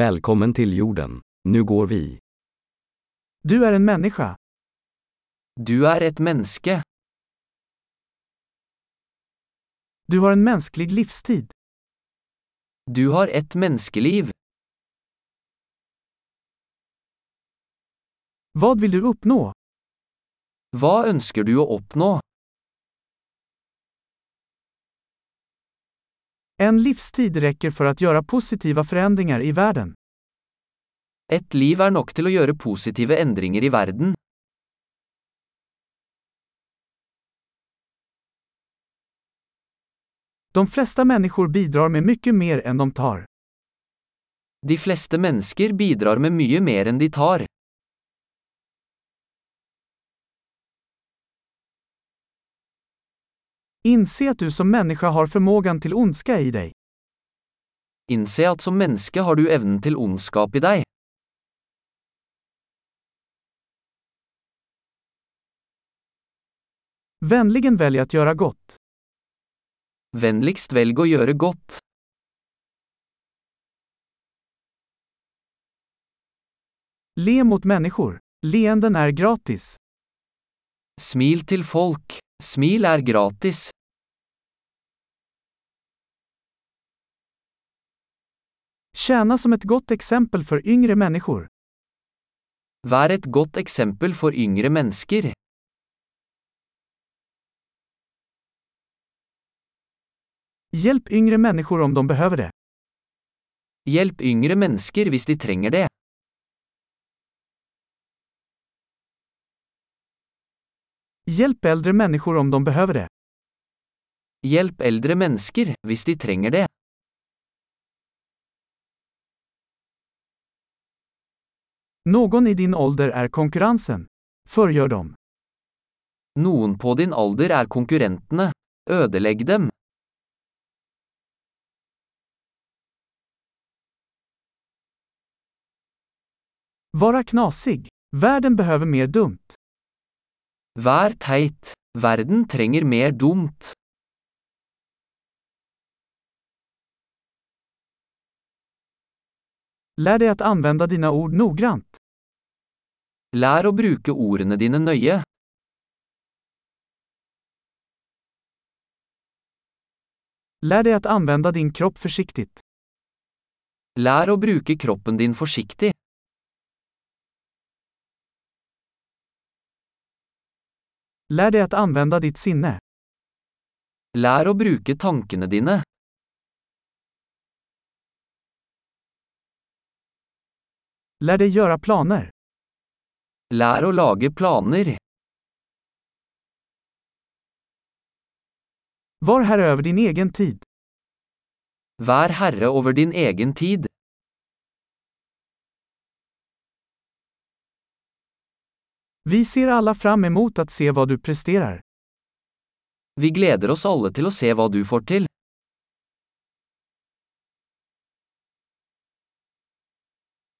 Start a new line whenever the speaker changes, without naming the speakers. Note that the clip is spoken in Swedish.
Välkommen till jorden. Nu går vi.
Du är en människa.
Du är ett menneske.
Du har en mänsklig livstid.
Du har ett menneskeliv.
Vad vill du uppnå?
Hva ønsker du å oppnå?
En livstid räcker för att göra positiva förändringar i världen.
Et liv er nok til å gjøre positive endringer i verden.
De flesta människor bidrar med mycket mer än de tar.
De fleste mennesker bidrar med mye mer enn de tar.
Inse att du som människa har förmågan till ondska i dig.
Innse at som menneske har du evnen til ondskap i deg.
Vänligen välj att göra gott.
Vennligst velg å gjøre godt.
Le mot människor. Leenden är gratis.
Smil til folk. Smil er gratis.
Tjäna som ett gott exempel för yngre människor.
Vær et godt eksempel for yngre mennesker.
Hjälp yngre människor om de behöver det.
Hjelp yngre mennesker hvis de trenger det.
Hjälp äldre människor om de behöver det.
Hjelp eldre mennesker hvis de trenger det.
Någon i din ålder är konkurrensen. Förgör dem.
Noen på din alder er konkurrentene. Ødelegg dem.
Vara knasig. Världen behöver mer dumt.
Vær teit. Verden trenger mer dumt.
Lär dig att använda dina ord noggrant.
Lær å bruke ordene dine nøye.
Lär dig att använda din kropp försiktigt.
Lær å bruke kroppen din forsiktig.
Lär dig att använda ditt sinne.
Lær å bruke tankene dine.
Lär dig göra planer.
Lær å lage planer.
Var herre över din egen tid.
Vær herre over din egen tid.
Vi ser alla fram emot att se vad du presterar.
Vi gleder oss alle til å se hva du får til.